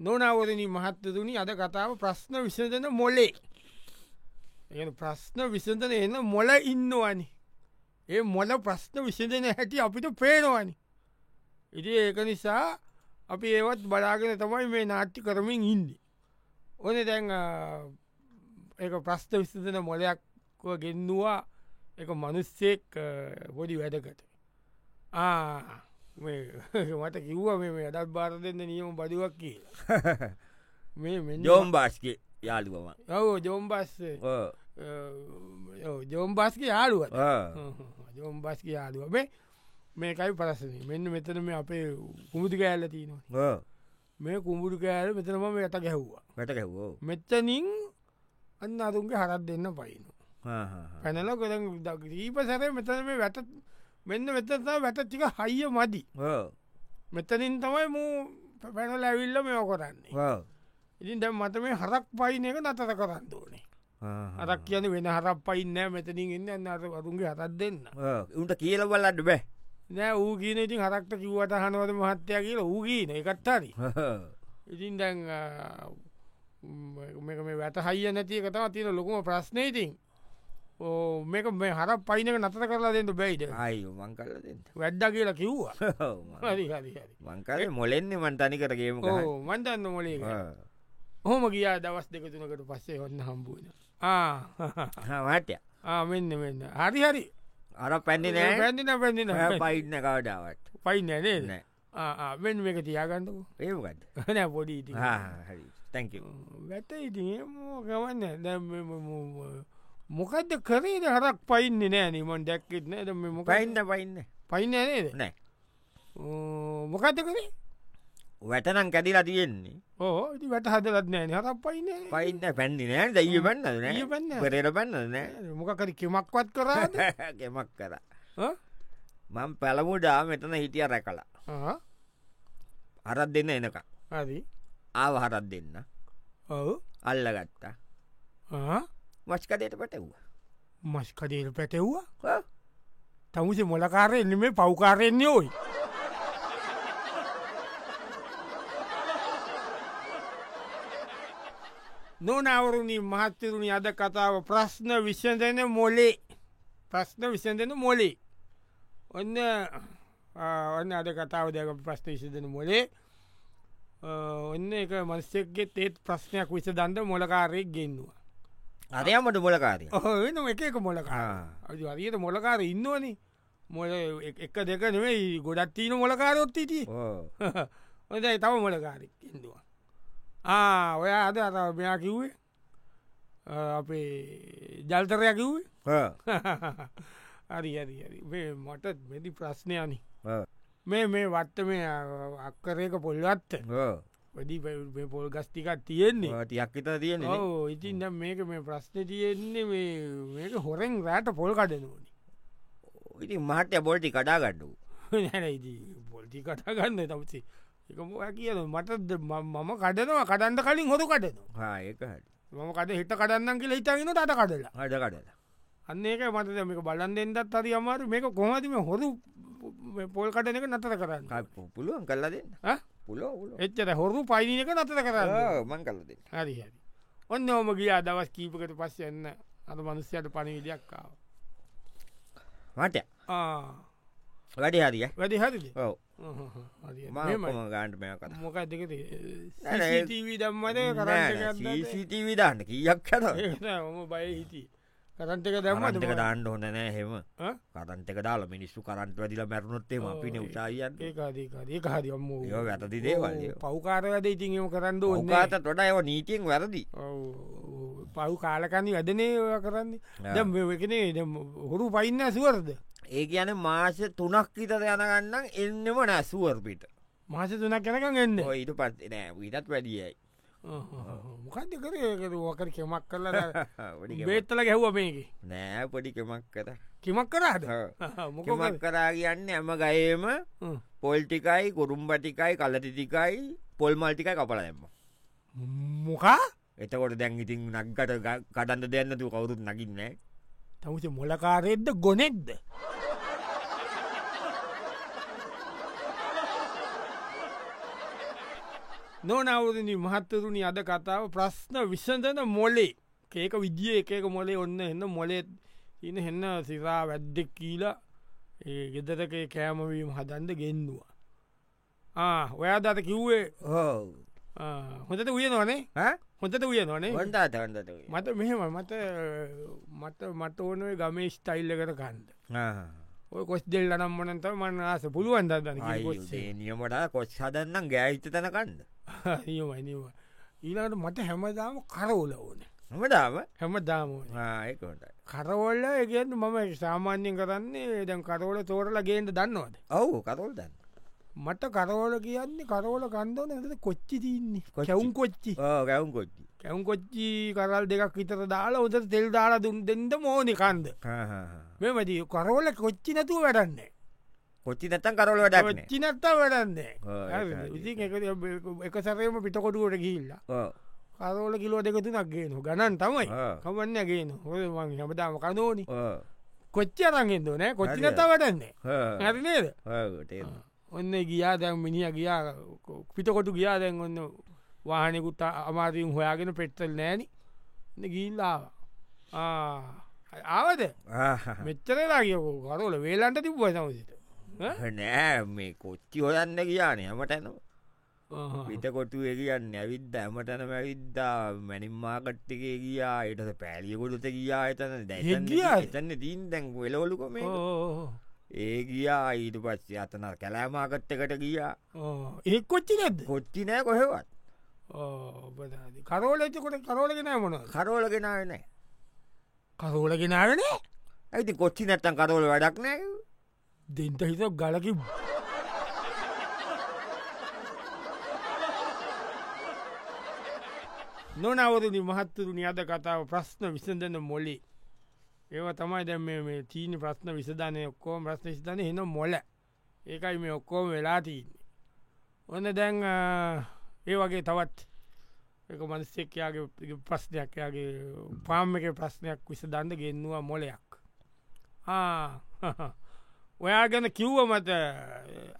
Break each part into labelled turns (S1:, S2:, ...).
S1: නොනවරණී මහත්තතුනි අද කතාව ප්‍රශ්න විසඳන මොලේ ඒ ප්‍රශ්න විසඳන එන්න මොල ඉන්නවනි ඒ මොල ප්‍රශ්න විසඳන හැටි අපිට පේනවනි ඉති ඒක නිසා අපි ඒවත් බලාගෙන තමයි මේ නාට්ටි කරමින් ඉන්නේ ඕන දැන් ඒ ප්‍රශ්න විසඳන මොලයක් ගෙන්නවා එක මනුස්සෙක් පොඩි වැඩකට ආ මට කිව්ව මේ අඩත් බාර දෙන්න නියම බඩුවක් කියලා මේ මෙන්න
S2: ජෝම් බාස්්ක යාලිකම
S1: ඔව ජෝම්බස් ජෝම්බස්ක යාළුව ජෝම්බස්ක යාළුව මේ මේකයි පරස්සන මෙන්න මෙතන මේ අපේ කුමුදි කෑල්ල තියෙනවා මේ කුඹුරු කෑල මෙතනම මේ ඇත ගැහ්වා
S2: වැට කැවෝ
S1: මෙත්තනින් අන්න අතුන්ගේ හරත් දෙන්න පයින පැනල කො දීප සැර මෙතන මේ වැට මෙන්න මෙතතා වැට ටික හයිය මදි මෙතනින් තමයි මූ පැනල ඇවිල්ල මෙෝ කරන්නේ ඉතින් දැම් මත මේ හරක් පයින එක නතර කරන්න ඕනේ හරක් කියන වෙන හරක් පයින්නෑ මෙතනින් එන්න අන්නට වරුන්ගේ හතත් දෙන්න
S2: උන්ට කියලබලට බෑ
S1: නෑ ඌ කියන ඉතින් හරක්ට කිව්වට හනුවද මහත්තය කියලා ඌ කියන එකත්තාරි ඉතින් දැන් අ, ම්, මේක මේ වැට හයිය නැතිය කතාව තියෙන ලොකුම ප්‍රශ්නයතින් ඕ මේක මේ හර පයිනක නතර කරලා දෙන්න බැයිද
S2: අයි මං කල්ල දෙන්න
S1: වැඩ්ඩ කියලා කිව්වා හරි හරි හරි
S2: මංකල මොලෙන්නේ මන්තනි කරගේම
S1: ඕ මන්දන්න මොලේ හොම ගියා දවස් දෙක තුනකට පස්සේ ඔන්න හම්බුවන
S2: මටය
S1: මෙන්න මෙන්න හරි හරි
S2: අර පැන්නේ නෑ
S1: පැදින පැදින
S2: පයින්න කවඩාවට
S1: පයින්න නේද
S2: නෑ
S1: මෙන් මේක තියාගන්නකු
S2: ඒකත්
S1: නෑ පොඩි ඉති
S2: හරි තැක
S1: වැට ඉතින් ගවන්න දැ මොකක්ද කරේද හරක් පයින්න නෑ නිමන් දැක්කෙත් නෑ දැන් මේ මොකක්ද?
S2: පයින්න පයින්න
S1: පයින්න නේද
S2: නෑ
S1: ඕ, මොකක්ද කරේ
S2: වැටනම් කැඩිලා තියෙන්නේ
S1: ඕ ඉතින් වැට හදලත් නෑන හරක් පයින්න
S2: පයින්න පැන්දි නෑ දයිය පන්නද
S1: ඊයේ පැන්නේ නෑ.
S2: නෑ පෙරට පන්නද නෑ
S1: මොකකරි කෙමක්වත් කරාද
S2: ගෙමක් කර
S1: ඈ?
S2: මං පැළමුඩා මෙතන හිටිය රැකලා
S1: ආ,
S2: හරත් දෙන්න එනක
S1: හරි
S2: ආව හරත් දෙන්න
S1: ඔව
S2: අල්ලගත්තා මස්කදයට පටව්වා
S1: මස් කඩේල පැටෙව්වා තමුසේ මොලකාරය එන්න මේ පව්කාරයෙන්නේ ඕයි නොනවරුණී මහත්තරුණි අද කතාව ප්‍රශ්න විසඳන මොලේ ප්‍රශ්න විසඳන මොලේ ඔන්න ආ, ඔන්න අද කතාව දැක ප්‍රශ්න විසඳන මොලේ අ, ඔන්න එක මස්සෙක්ගේ තේත් ප්‍රශ්නයක් විස දන්ද මොලකාරයෙක් ගෙන්වා
S2: අරයමට මොලකාරය
S1: ඔහන එක එක මොලකාර අද අරියට මොලකාර ඉන්නවන මොල එක දෙක නෙවෙයි ගොඩත් තිීන මොලකාරොත් හිටිය හොඳයි තම මොලකාරෙක් ඉදවා ආ ඔයා අද අත මෙයා කිව්වේ අ, අපේ ජල්තරයක් කිව්වේ හරි හරි හරි මේ මට මෙති ප්‍රශ්නයනි මේ මේ වත්ත මේ අ- අක්කරයක පොල්වත්ත වැඩි පොල් ගස්ටිකක් තියෙන්නේ
S2: ටියක් හිත තියෙන
S1: ඔව ඉතින් දැන් මේක මේ ප්‍රශ්න තියෙන්නේ මේ මේක හොරෙන් රෑට පොල් කඩනෝනි
S2: ඉති මහටය බොල්ටි කඩා ගඩ්ඩු
S1: නැනයිති පොල්ටි කටගන්න තමසේ එකම කියන මට ද- ම- මම කඩනවා කඩන්ට කලින් හොරු කඩනවා
S2: ඒක
S1: මම කඩ හිට කඩන්න කියලා හිතාගෙන ට කඩලා
S2: හඩ කඩලා
S1: අන්න ඒක මත මේක බලන් දෙෙන්දත් අරි අමාරු මේක කොහමතිම හොරු මේ පොල් කඩන එක නතර කරන්න
S2: ක- පු- පුළුවන් කල්ලා දෙන්න
S1: ඈ?
S2: පුලෝ පුලෝ
S1: එච්චට හොරු පයින එක නතර කරන්න
S2: මං කල්ල දෙන්න
S1: හරි හරි ඔන්න ඕම ගියා දවස් කීපකට පස්ස එන්න අද මනුස්්‍යයට පණවිදයක්කාව
S2: මට
S1: ආ
S2: වැඩි හරිය
S1: වැඩි හරිද
S2: ඔව
S1: මොක
S2: මම ගාන්ට මෙ කත
S1: දෙකද
S2: නෑ නෑ ඒ-
S1: ටීවී දම්මද කරන්ට
S2: සිටී දාන්න කියක් කර
S1: ම බය හිටි කරන්ට එක දැම්මද
S2: දම්මටක දාන්න හොන නෑ හෙම
S1: ඈ?
S2: කරන්ටක දාලා මිනිස්සු කරන්ට වැදිලා මැරුණොත්තේ
S1: ඔව්
S2: අපින
S1: ඒ-
S2: උසායියන්න
S1: ඒකාදකාරය හරි අම්ම
S2: ඒවා වැරදි දේවල් ඒවා.
S1: පව්කාරවද ඉතින් එම කරන්න ඕන්න
S2: ඕකාත ොඩ ඒව නීතියෙන් වැරදි
S1: පව් කාලකන්න වැඩනේ ඔය කරන්නේ දැම් එකනේ හොරු පයින්න සුවර්ද
S2: ඒ කියන මාස තුනක් විතර යනගන්නම් එන්නම නැසුවර්පිට
S1: මාස තුනක් කැනකන් එන්න
S2: ඊට පත් නෑ විටත් වැඩියයි
S1: මොකක්ද කර වකර කෙමක් කරලා
S2: පොඩි කෙමක්-
S1: බේත්තල ගැහ්ව මේගේ
S2: නෑ පොඩි කෙමක් කර
S1: කෙමක් කරාද
S2: ඔව්.
S1: මොක
S2: කෙමක් කරා කියන්න ඇම ගයම පොල්ටිකයි ගොරුම්බටිකයි කලටිටිකයි පොල් මල්ටිකයි කපල දෙම
S1: මොකා
S2: එතකොට දැන් ඉතින් නක්ගට ග- කඩන්න දෙන්නතු කවුරුත් නකින්න
S1: තමුස මොලකාරෙද්ද ගොනෙක්ද නොනවරණ මහත්තරුණි අද කතාව ප්‍රශ්න විසඳන මොලේ ඒක විදිිය එකක මොලේ ඔන්න එන්න මොලෙත් ඉන්න හෙන්න සිරා වැද්දෙක් කියීලා ඒ ගෙදරක කෑමවීම හදන්ද ගෙන්දවා. ආ ඔයා දත කිව්වේ
S2: හෝ
S1: ආ, හොඳට විය නොනේ හොඳට විය නොනේ
S2: හොන්දාත හොන්දතගේ
S1: මත මෙහෙම මත මත මට ඕනේ ගමේ ස්ටයිල්ලකට කන්ද ඔය කොස් දෙල් නම් මනන්ත මන්න ආස පුළුවන් දන්න
S2: අයිේ නියමට කොස් හදන්නම් ගෑහිත තැනකන්ද
S1: නියමයිනිවා ඊලාට මට හැමදාම කරවල ඕන
S2: හමදාම
S1: හැම දාමෝන
S2: ආයකොට
S1: කරවල්ල එකෙන් මම සාමාන්‍යයෙන් කරන්නේ දැන් කරවල තෝරල ගේන්ට දන්නවාද
S2: ඔවු කතොල් දන්න
S1: මට කරවල කියන්නේ කරවල කන්දන ඇද කොච්චි තින්නේ
S2: කොච්චි.
S1: කැවුම් කොච්චි
S2: ගැවුම් කොච්චි
S1: කැවුම් කොච්චි කරල් දෙකක් විතර දාලා උද තෙල් දාලා දුන් දෙෙන්ට මෝනි කන්ද මෙමති කරවල කොච්චි නැතුව වැඩන්නේ
S2: කොච්චි නැතන් කරොල වැඩක්න
S1: කොච්චි නැත්තා වැඩන්නේ
S2: ඔව්, ඒක හරි.
S1: ඉති එක සැරයම පිටකොටුවට ගිල්ලා කරවල කිලෝ දෙකතුනක් ගේනු ගණන් තමයි කවන්න ගේන හොවන් හැමදාම කනෝනි කොච්ච අරගෙන්ද නෑ කොච්චි
S2: හරියට.
S1: නැතා වැඩන්නේ හැරිනේද ඔන්න ගියා දැන් මිනිිය ගියා කො- පිටකොටු ගියා දැන් ඔන්න වාහනෙකුත් අමාරීම් හොයාගෙන පෙට්ටල් නෑන ගිල්ලාව ආවද මෙච්චරලා කියකෝ කරෝල වේලන්ට තිබ්බ සමසිත
S2: නෑ මේ කොච්චි හොයන්න කියන හමටන පිතකොටු කියන්න ඇවිද්ද ඇමටන ඇවිද්දා මැනිම්මාකට්ටිකේ ගියා එටස පැලියකොටුත ගියා එතන දැ
S1: ගියාද?
S2: එතන්න දීන් දැන් වෙලවලුකොම ඒ ගියා ඊට පස්සේ අතන කැලෑමාකට්ටකට ගියා
S1: ඒ කොච්චි නැද්ද
S2: කොච්චි නෑ කොහෙවත්
S1: කරෝලච්කොට කරෝලගෙන මොන
S2: කරෝලගෙනාව නෑ
S1: කරෝලගෙනාවනේ
S2: ඇති කොච්චි නැත්තන් කරෝල වැඩක් නෑ
S1: දෙන්ට හිතක් ගලකි නොනවරදි මහත්තරුනි අද කතාව ප්‍රශ්න විසඳන මොලේ ඒව තමයි දැ මේ තීන ප්‍රශ්න විසධනය ඔක්කෝම ප්‍රශ්න විසධන හෙන මොල ඒකයි මේ ඔක්කෝම වෙලා තියන්නේ ඔන්න දැන් අ, ඒ වගේ තවත් එක මනස්සෙක්යාගේ ප්‍රශ්නයක් යාගේ පාම් එක ප්‍රශ්නයක් විසදන්ද ගෙන්නවා මොලයක් ආ, ඔයා ගැන කිව්ව මත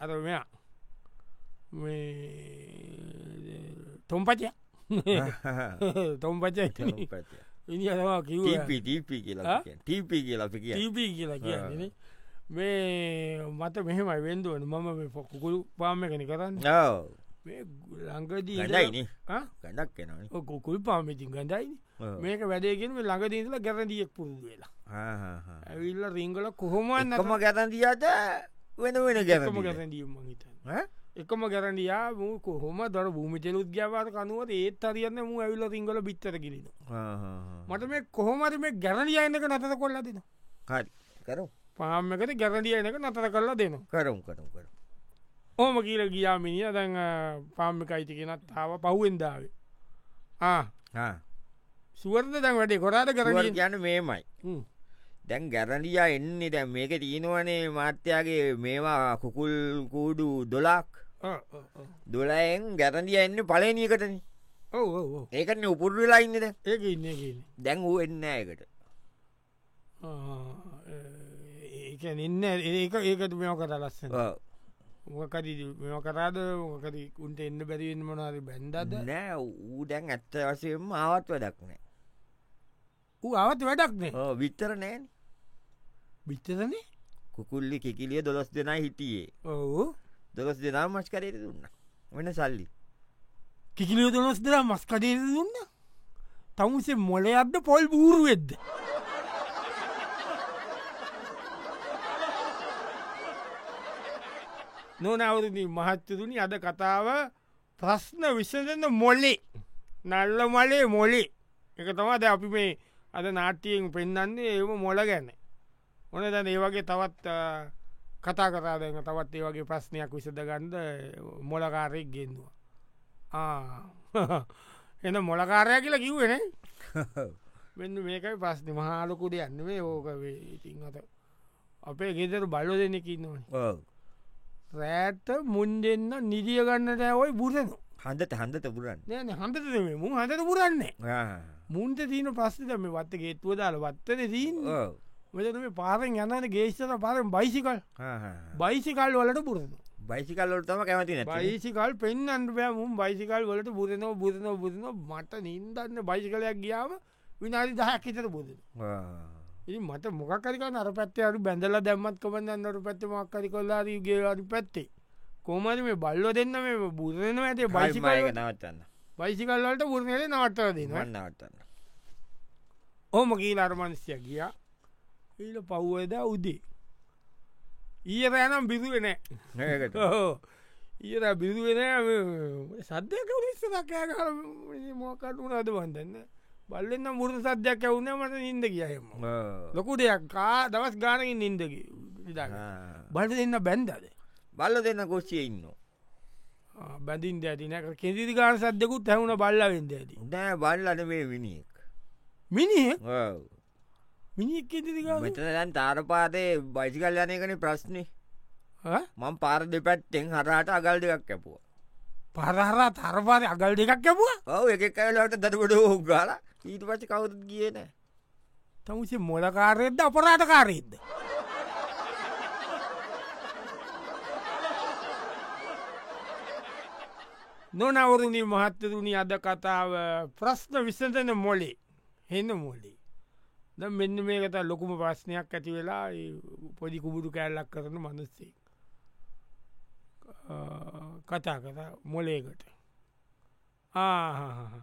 S1: අර මෙයා මේ තොම්පචය තොම්පච ඉනිියවා කිව්ව
S2: ටීපි කියලා ටීපි කියලා අපි කිය
S1: ටීපී කියලා කියන්නේ මේ මත මෙහෙමයි වෙන්දුවන මම මේ පො- කුකුළු පාම කන කරන්න මේ ලංඟදී ඉඳලා-
S2: ගඩයින
S1: ආ?
S2: ගඩක් කෙනන
S1: ඔව් කුකුල් පාමිතින් ගඳයින මේක වැඩේගෙන් ළඟදීලා ගැරදියෙක් පුරුදු වෙලා ඇවිල්ල රිංගල කොහොමන්
S2: එකම ගැතන් දියාට වෙන වෙන ගැම
S1: එකම ගැරැඩියම් මහිතන්න එකම ගැරඩියා මූකු හොම දර භූමිචලුත් ග්‍යාවාත කනුවට ඒත් අරියන්න මු ඇවිල්ල සිංහල බිත්තර කිරෙන මට මේ කොහොමට මේ ගැරඩියයනක නතර කොල්ලා දෙන
S2: හරි කරු
S1: පාමකට ගැරඩියයනක නතර කරලා දෙනවා
S2: කරුම් කරුම් කර
S1: ඕම කියල ගියා මිනිිය දැන් පාම්මිකයිති කෙනත් තාව පහුවෙන්දාවේ ආ සුවර්ද දැන් වැඩේ කොරාට කරග
S2: යන මේමයි දැන් ගැරඩියා එන්නේ දැ මේක තියෙනවනේ මාත්‍යයාගේ මේවා කුකුල් කූඩු දොලක් දොලයෙන් ගැරඩිය එන්න පලනීකටන
S1: ඔව
S2: ඒකන උපුරු වෙලා ඉන්නද
S1: ඒක ඉන්න කියන
S2: දැන් වූ එන්න එකට
S1: ඒක ඉන්න ඒක ඒකට මෙෝ කතා ලස්සන
S2: ඔව්.
S1: මොකද මෙම කරාද මොකද උන්ට එන්න බැරිෙන් මොනාද බැන්ඩද
S2: නෑ ඌ දැන් ඇත්ත වසයෙන් ආවත් වැඩක් නෑ
S1: ඌ අවත් වැඩක්නේ
S2: ඕ, විතර නෑන
S1: බිත්තදනේ
S2: කුකුල්ලි කිකිලිය දොස් දෙනා හිටියේ
S1: ඔවු
S2: දොස් දෙනා මස්්කරයට දුන්න වෙන සල්ලි
S1: කිකිලිය දොස් දෙලා මස්කඩේද දුන්න තමුසේ මොල අබ්ද පොල් බූරු වෙද්ද නොනවරදී මහත්තතුනි අද කතාව ප්‍රශ්න විසඳන මොල්ලේ නල්ල මලේ මොලේ එක තමා ද අපි මේ අද නාට්‍යයෙන් පෙන්න්නන්නේ ඒම මොල ගැන ඕන දැන ඒ වගේ තවත් අ, කතා කරාදන්න තවත් ඒ වගේ ප්‍රශ්නයක් විසඳගන්ද මොලකාරයක් ගෙන්දවා ආ. එන මොලකාරය කියලා කිව්වෙන මෙන්න මේකයි පස්න මහාලොකුට යන්නවේ ඕකවේ ඉතින් අත අපේ ගෙදර බලෝ දෙනෙකින් ඕන රෑත්ත මුන් දෙන්න නිදිය ගන්න දෑවයි බුරනු
S2: හඳ තහන්ද තපුරන්න
S1: නෑන හඳත මේ මුන් හඳට පුරන්නේ මුන්ට තියන ප්‍රස්තිත මේ වත්ත ගේත්තුව දාල වත්තන දීන් මෙතන මේ පාරෙන් යන්නට ගේෂතර පාරෙන් බයිසිකල් බයිසිකල් වලට පුරනු
S2: බයිසිකල්ලොටම කැමති නැ
S1: බයිසිකල් පෙන්න්නට බෑමුම් බයිසිකල් වලට බුදනෝ බුදන බුදන මට නින්දන්න බයිසිකලයක් ගියාම විනාරි දහයක් හිතර බුදන ඉ මට මොකරික නර පත්තේ අරු බැඳල දැම්මත් කොමඳන්නට පැත්ත මක්කරි කොල්ලාරී ගේවාරි පැත්තේ කෝමර මේ බල්ලො දෙන්න මේ බුදන ඇතේ
S2: බයිසිකය
S1: බයිසිකල්
S2: නවත්තන්න
S1: බයිසිකල්ලට බුරණයට නවත්තර දෙනවා
S2: නවත්තන්න
S1: ඕම ගී අරමනස්ය ගිය ඊට පව්වද උදේ ඊය පෑනම් බිදුවෙනෑ
S2: නකට
S1: ඊර බිදුවෙන සද්‍යක විස්සකෑර මොකට වුණද බන්දන්න බල්ලන්න මුරු සද්‍යයක් ඇවුණ මට නින්ද කියහෙම ලොකු දෙයක් කා දවස් ගානකින් නින්දකි බල දෙන්න බැන්දද
S2: බල්ල දෙන්න කොච්චය ඉන්න
S1: බැඳින් ඇතිනක කෙදිරි ගාන සද්‍යකුත් හැවුණ බල්ලවෙෙන්ද ඇති
S2: නෑ බල්ලට මේ විනිියෙක්
S1: මිනිහ මිනික් කෙදිරිග
S2: මෙතන දැන් තාරපාතය බයිසිකල් යනයකන ප්‍රශ්නය මං පාර දෙපැත්තෙන් හරාට අගල් දෙකක් කැපුවා
S1: පරහරා තරපාර අගල් දෙකක් ඇැපුවා
S2: ඔව එක කලට දටකොට ඕගාල ඊට පචි කවුරුත් කියන
S1: තමුසේ මොලකාරයෙද්ද අපරාටකාරයෙද්ද නොනවරුණි මහත්තරුණි අද කතාව ප්‍රශ්න විසඳන මොලේ හෙන්න මොලේ ද මෙන්න මේකත ලොකුම ප්‍රශ්නයක් ඇති වෙලා ඒ පොඩි කුබුරු කෑල්ලක් කරන මනුස්සේ කතා කර මොලේකට ආහහහ.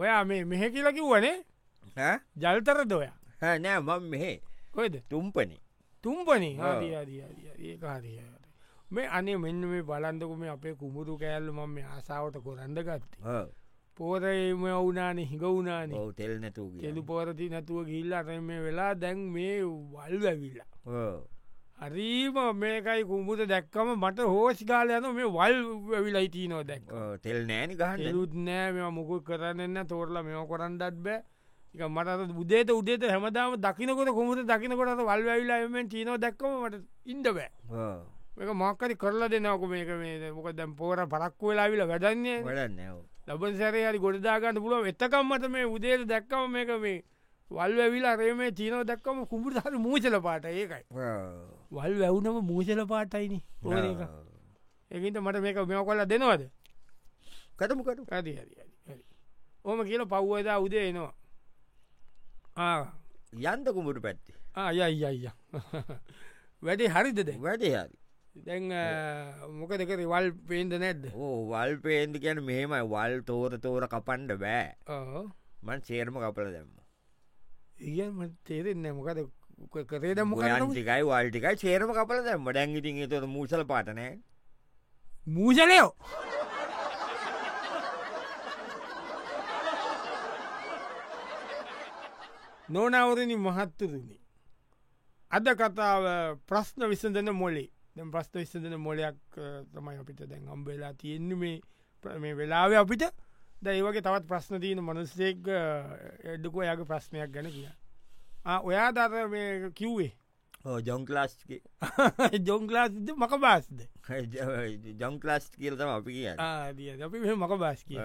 S1: ඔයා මේ මෙහ කියලකි වනේ ජල්තර දොයා
S2: නෑ මං මෙහේ
S1: කොයිද
S2: තුම්පනි
S1: තුම්පන
S2: ආ.
S1: ඒකාරයට මේ අනේ මෙන්න මේ බලන්දකුම අපේ කුමුරු කෑල්ලු මම මේ ආසාාවට කොරන්ඩ ගත්ත පෝරම වුනානේ හිඟ වුනානේ
S2: ඔවටෙල් නැතු
S1: කෙලු පෝරති නැතුව ගිල්ල අර මේ වෙලා දැන් මේ වල් ඇවිල්ලා හරීම මේකයි කුමුට දැක්කම මට හෝසිකාල යන මේ වල් ඇවිලා යිතිනෝ දැක්
S2: තෙල් නෑනි ගහන්න
S1: එලුත් නෑ මෙම මුකුත් කරන්න තෝරලා මෙම කොරන්ඩත් බෑ එක මට බුදේත උදේත හැමදාම දකිනකොට කොමුට දකිනකොට වල් ඇවිලාමෙන් චීනෝ දක්කමට ඉන්ඩ බෑ මේක මක්කරි කරලා දෙනවක මේක මේ මොක දැම් පෝර පරක්කු වෙලාවිල වැඩන්නේ
S2: වැඩන්න ඔව්.
S1: ලබන් සැරේ හරි ගොඩදාගන්න පුළුව එතකම්මට මේ උදේට දැක්කම මේක මේ වල් ඇවිලා රේ මේ චීනෝ දක්කම කුඹුට හරි මූචල පාට ඒකයි
S2: ඔව්.
S1: වල් වැැවුනම මූචල පාටයිනි ඕක
S2: ඔව්.
S1: එකට මට මේක මෙ කොල්ලා දෙනවද
S2: කටමු කටු
S1: ඇති ඕම කියල පව්වදා උදේ එනවා
S2: යන්ත කුඹට පැත්ති
S1: ආය අයිය වැඩි හරිද දැ
S2: වැඩේ හරි
S1: දැන් මොක දෙක රිවල් පේන්ද නැද්ද
S2: ඕ වල් පේන්දි කියන මෙහෙමයි වල් තෝර තෝර කපන්ඩ බෑ මන් සේරම කපල දැම්ම
S1: ඉගම තේරෙන්න මොකද කරේද මොක
S2: මොකන්ටිකයි වල්ටිකයි සේරම කපල දැම්ම ඩැන් ඉතින් තොර මූසල පාටනෑ
S1: මූජලයෝ නොනවරණි මහත්තතුනි අද කතාව ප්‍රශ්න විසඳන මොලේ දැම් ප්‍රශ්න විසඳන මොලයක් අ, තමයි අපිට දැන් අම්බවෙලා තියෙන්නේ මේ ප්‍ර- මේ වෙලාව අපිට දැයිවගේ තවත් ප්‍රශ්න තියන මනුස්සෙක් එඩ්ඩුකෝ යාගේ ප්‍රශ්නයක් ගැන කිය ඔයා දර මේ කිව්වේ
S2: ඕ ජොන් ලාස්ගේ
S1: ජොංගලාසිද මක බාස්ද
S2: ජොන් ලාස්් කියලතම අපි කිය
S1: ආදිය අපි මෙහෙම මක බාස් කිය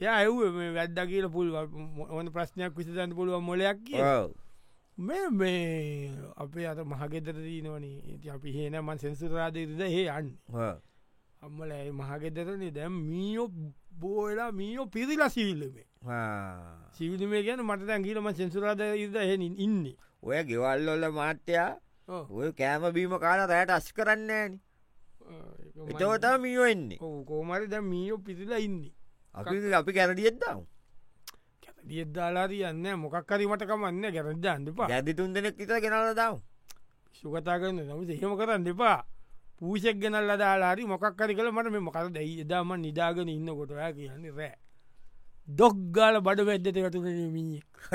S1: ය ඇව් වැද්ද කියල පුල් ඕන ප්‍රශ්නයක් විසඳන්න පුළුවන් මොලයක් කිය මේ මේ අපේ අත මහගෙදර දීනවනේ ඉති අපි හන මන් සෙන්සුරාදේද හේ අන්න අම්මල ඇ මහගෙදරනේ දැම් මීෝ බෝලා මීෝ පිරිලා සිවිල්ලමේ සිවිලිමේ ගැන මට දැන් කියලම සෙන්සුරාද ඉද හෙන ඉන්නේ
S2: ඔය ගෙවල්ලොල්ල මාත්‍යයා ඔය කෑම බීම කාල රෑට අස් කරන්නේන එතවතා මියෝ එන්නේ
S1: කෝමරි දැ මීෝ පිරිලා ඉන්නේ
S2: අපි අපි කැරඩියෙත්දම්
S1: දියද්දාලා තියන්න මොකක්කරීමටකමන්න ගැරද අන්නපා
S2: ඇදි තුන් දෙනෙක් ඉත කෙනල දම්
S1: සුගතා කරන්න නමුත් එහෙම කරන්න එපා පූෂක් ගෙනල් අදාලාරි මොකක්කරි කළ මට මේ මොකර දැයි එදාම නිදාගෙන ඉන්න කොටයා කියන්නේ රෑ දොක්්ගාල බඩ වැද්දට වැටුන මියෙක්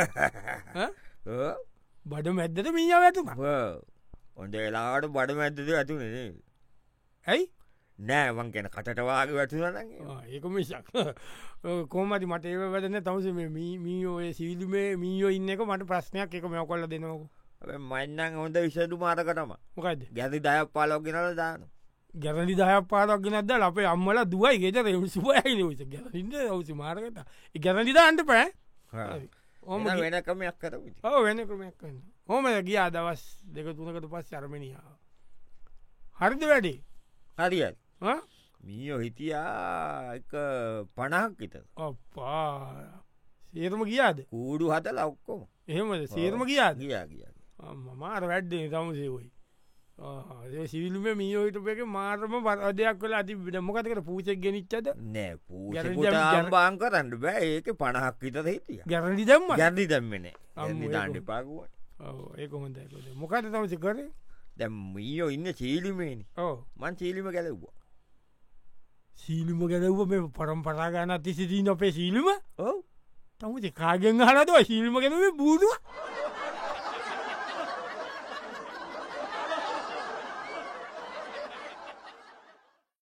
S1: බඩ මැද්දට මීය වැතුම
S2: ඔොන්ට එලාට බඩ මැද්දද ඇතුනේ
S1: ඇයි
S2: නෑවන් ගැන කටටවාගේ වැටුනගේ
S1: ආ, ඒක මිසක් කෝමති මට ඒව වැදන තවස මීෝය සිවිලිමේ මීෝ ඉන්න එක මට ප්‍රශ්නයක් එක මෙ කොල්ල දෙනවක
S2: මන්නන් හොඳ විසඩු මාරකටම
S1: මොකයිද
S2: ගැති දයක් පාලෝ ගෙනල දාන
S1: ගැරලි දහයක් පාරක් ගෙනනද අපේ අම්මල දුවයි ගෙතර සුපයයි ලස ගැරලින්ද ඔවසි මාරගත ගැරලිදාන්ට පෑ ඕම ගිහින්-
S2: වෙනකමයක් කරවිට
S1: ඔව වෙන ක්‍රමයක් කන්න හොම ගිය දවස් දෙක තුනකට පස් අරමණියාව හරිද වැඩි
S2: හරිියත් මීෝ හිටියා එක පණහක් හිත
S1: අප්පා සේරම කියාද
S2: කූඩු හත ලක්කොම
S1: එහෙමද සේරම කියාද
S2: ගියා කිය
S1: මමාර වැඩ්ඩේ තම සෙවයි සිවිල්ම මීෝහිට එක මාර්ම පරදයක් කල අති ඩමකතකට පූසක් ගෙනනිච්චද
S2: නෑ
S1: ගැරඬි
S2: පූජ
S1: ගැරඬි.
S2: ජම්බාන් කරන්න බෑ ඒක පණහක් හිතද හිටිය
S1: ගැරණි දම්ම
S2: ගැදි දම්මන
S1: අම්මෝ ඒක.
S2: දාන්න පාකුවට
S1: ඒකොමද මොකද තමස කරේ
S2: දැම් මීෝ ඉන්න චීලිමේනි
S1: ඕ
S2: මන් චීලිම ගැලව්වා
S1: සීලිම ගැලව්ව මේ පරම් පරාගන්න අති සිදී නොපේ සීලිම
S2: ඔව
S1: තමච කාගෙන් හලතුව සීල්ම ගැනවේ බූදුව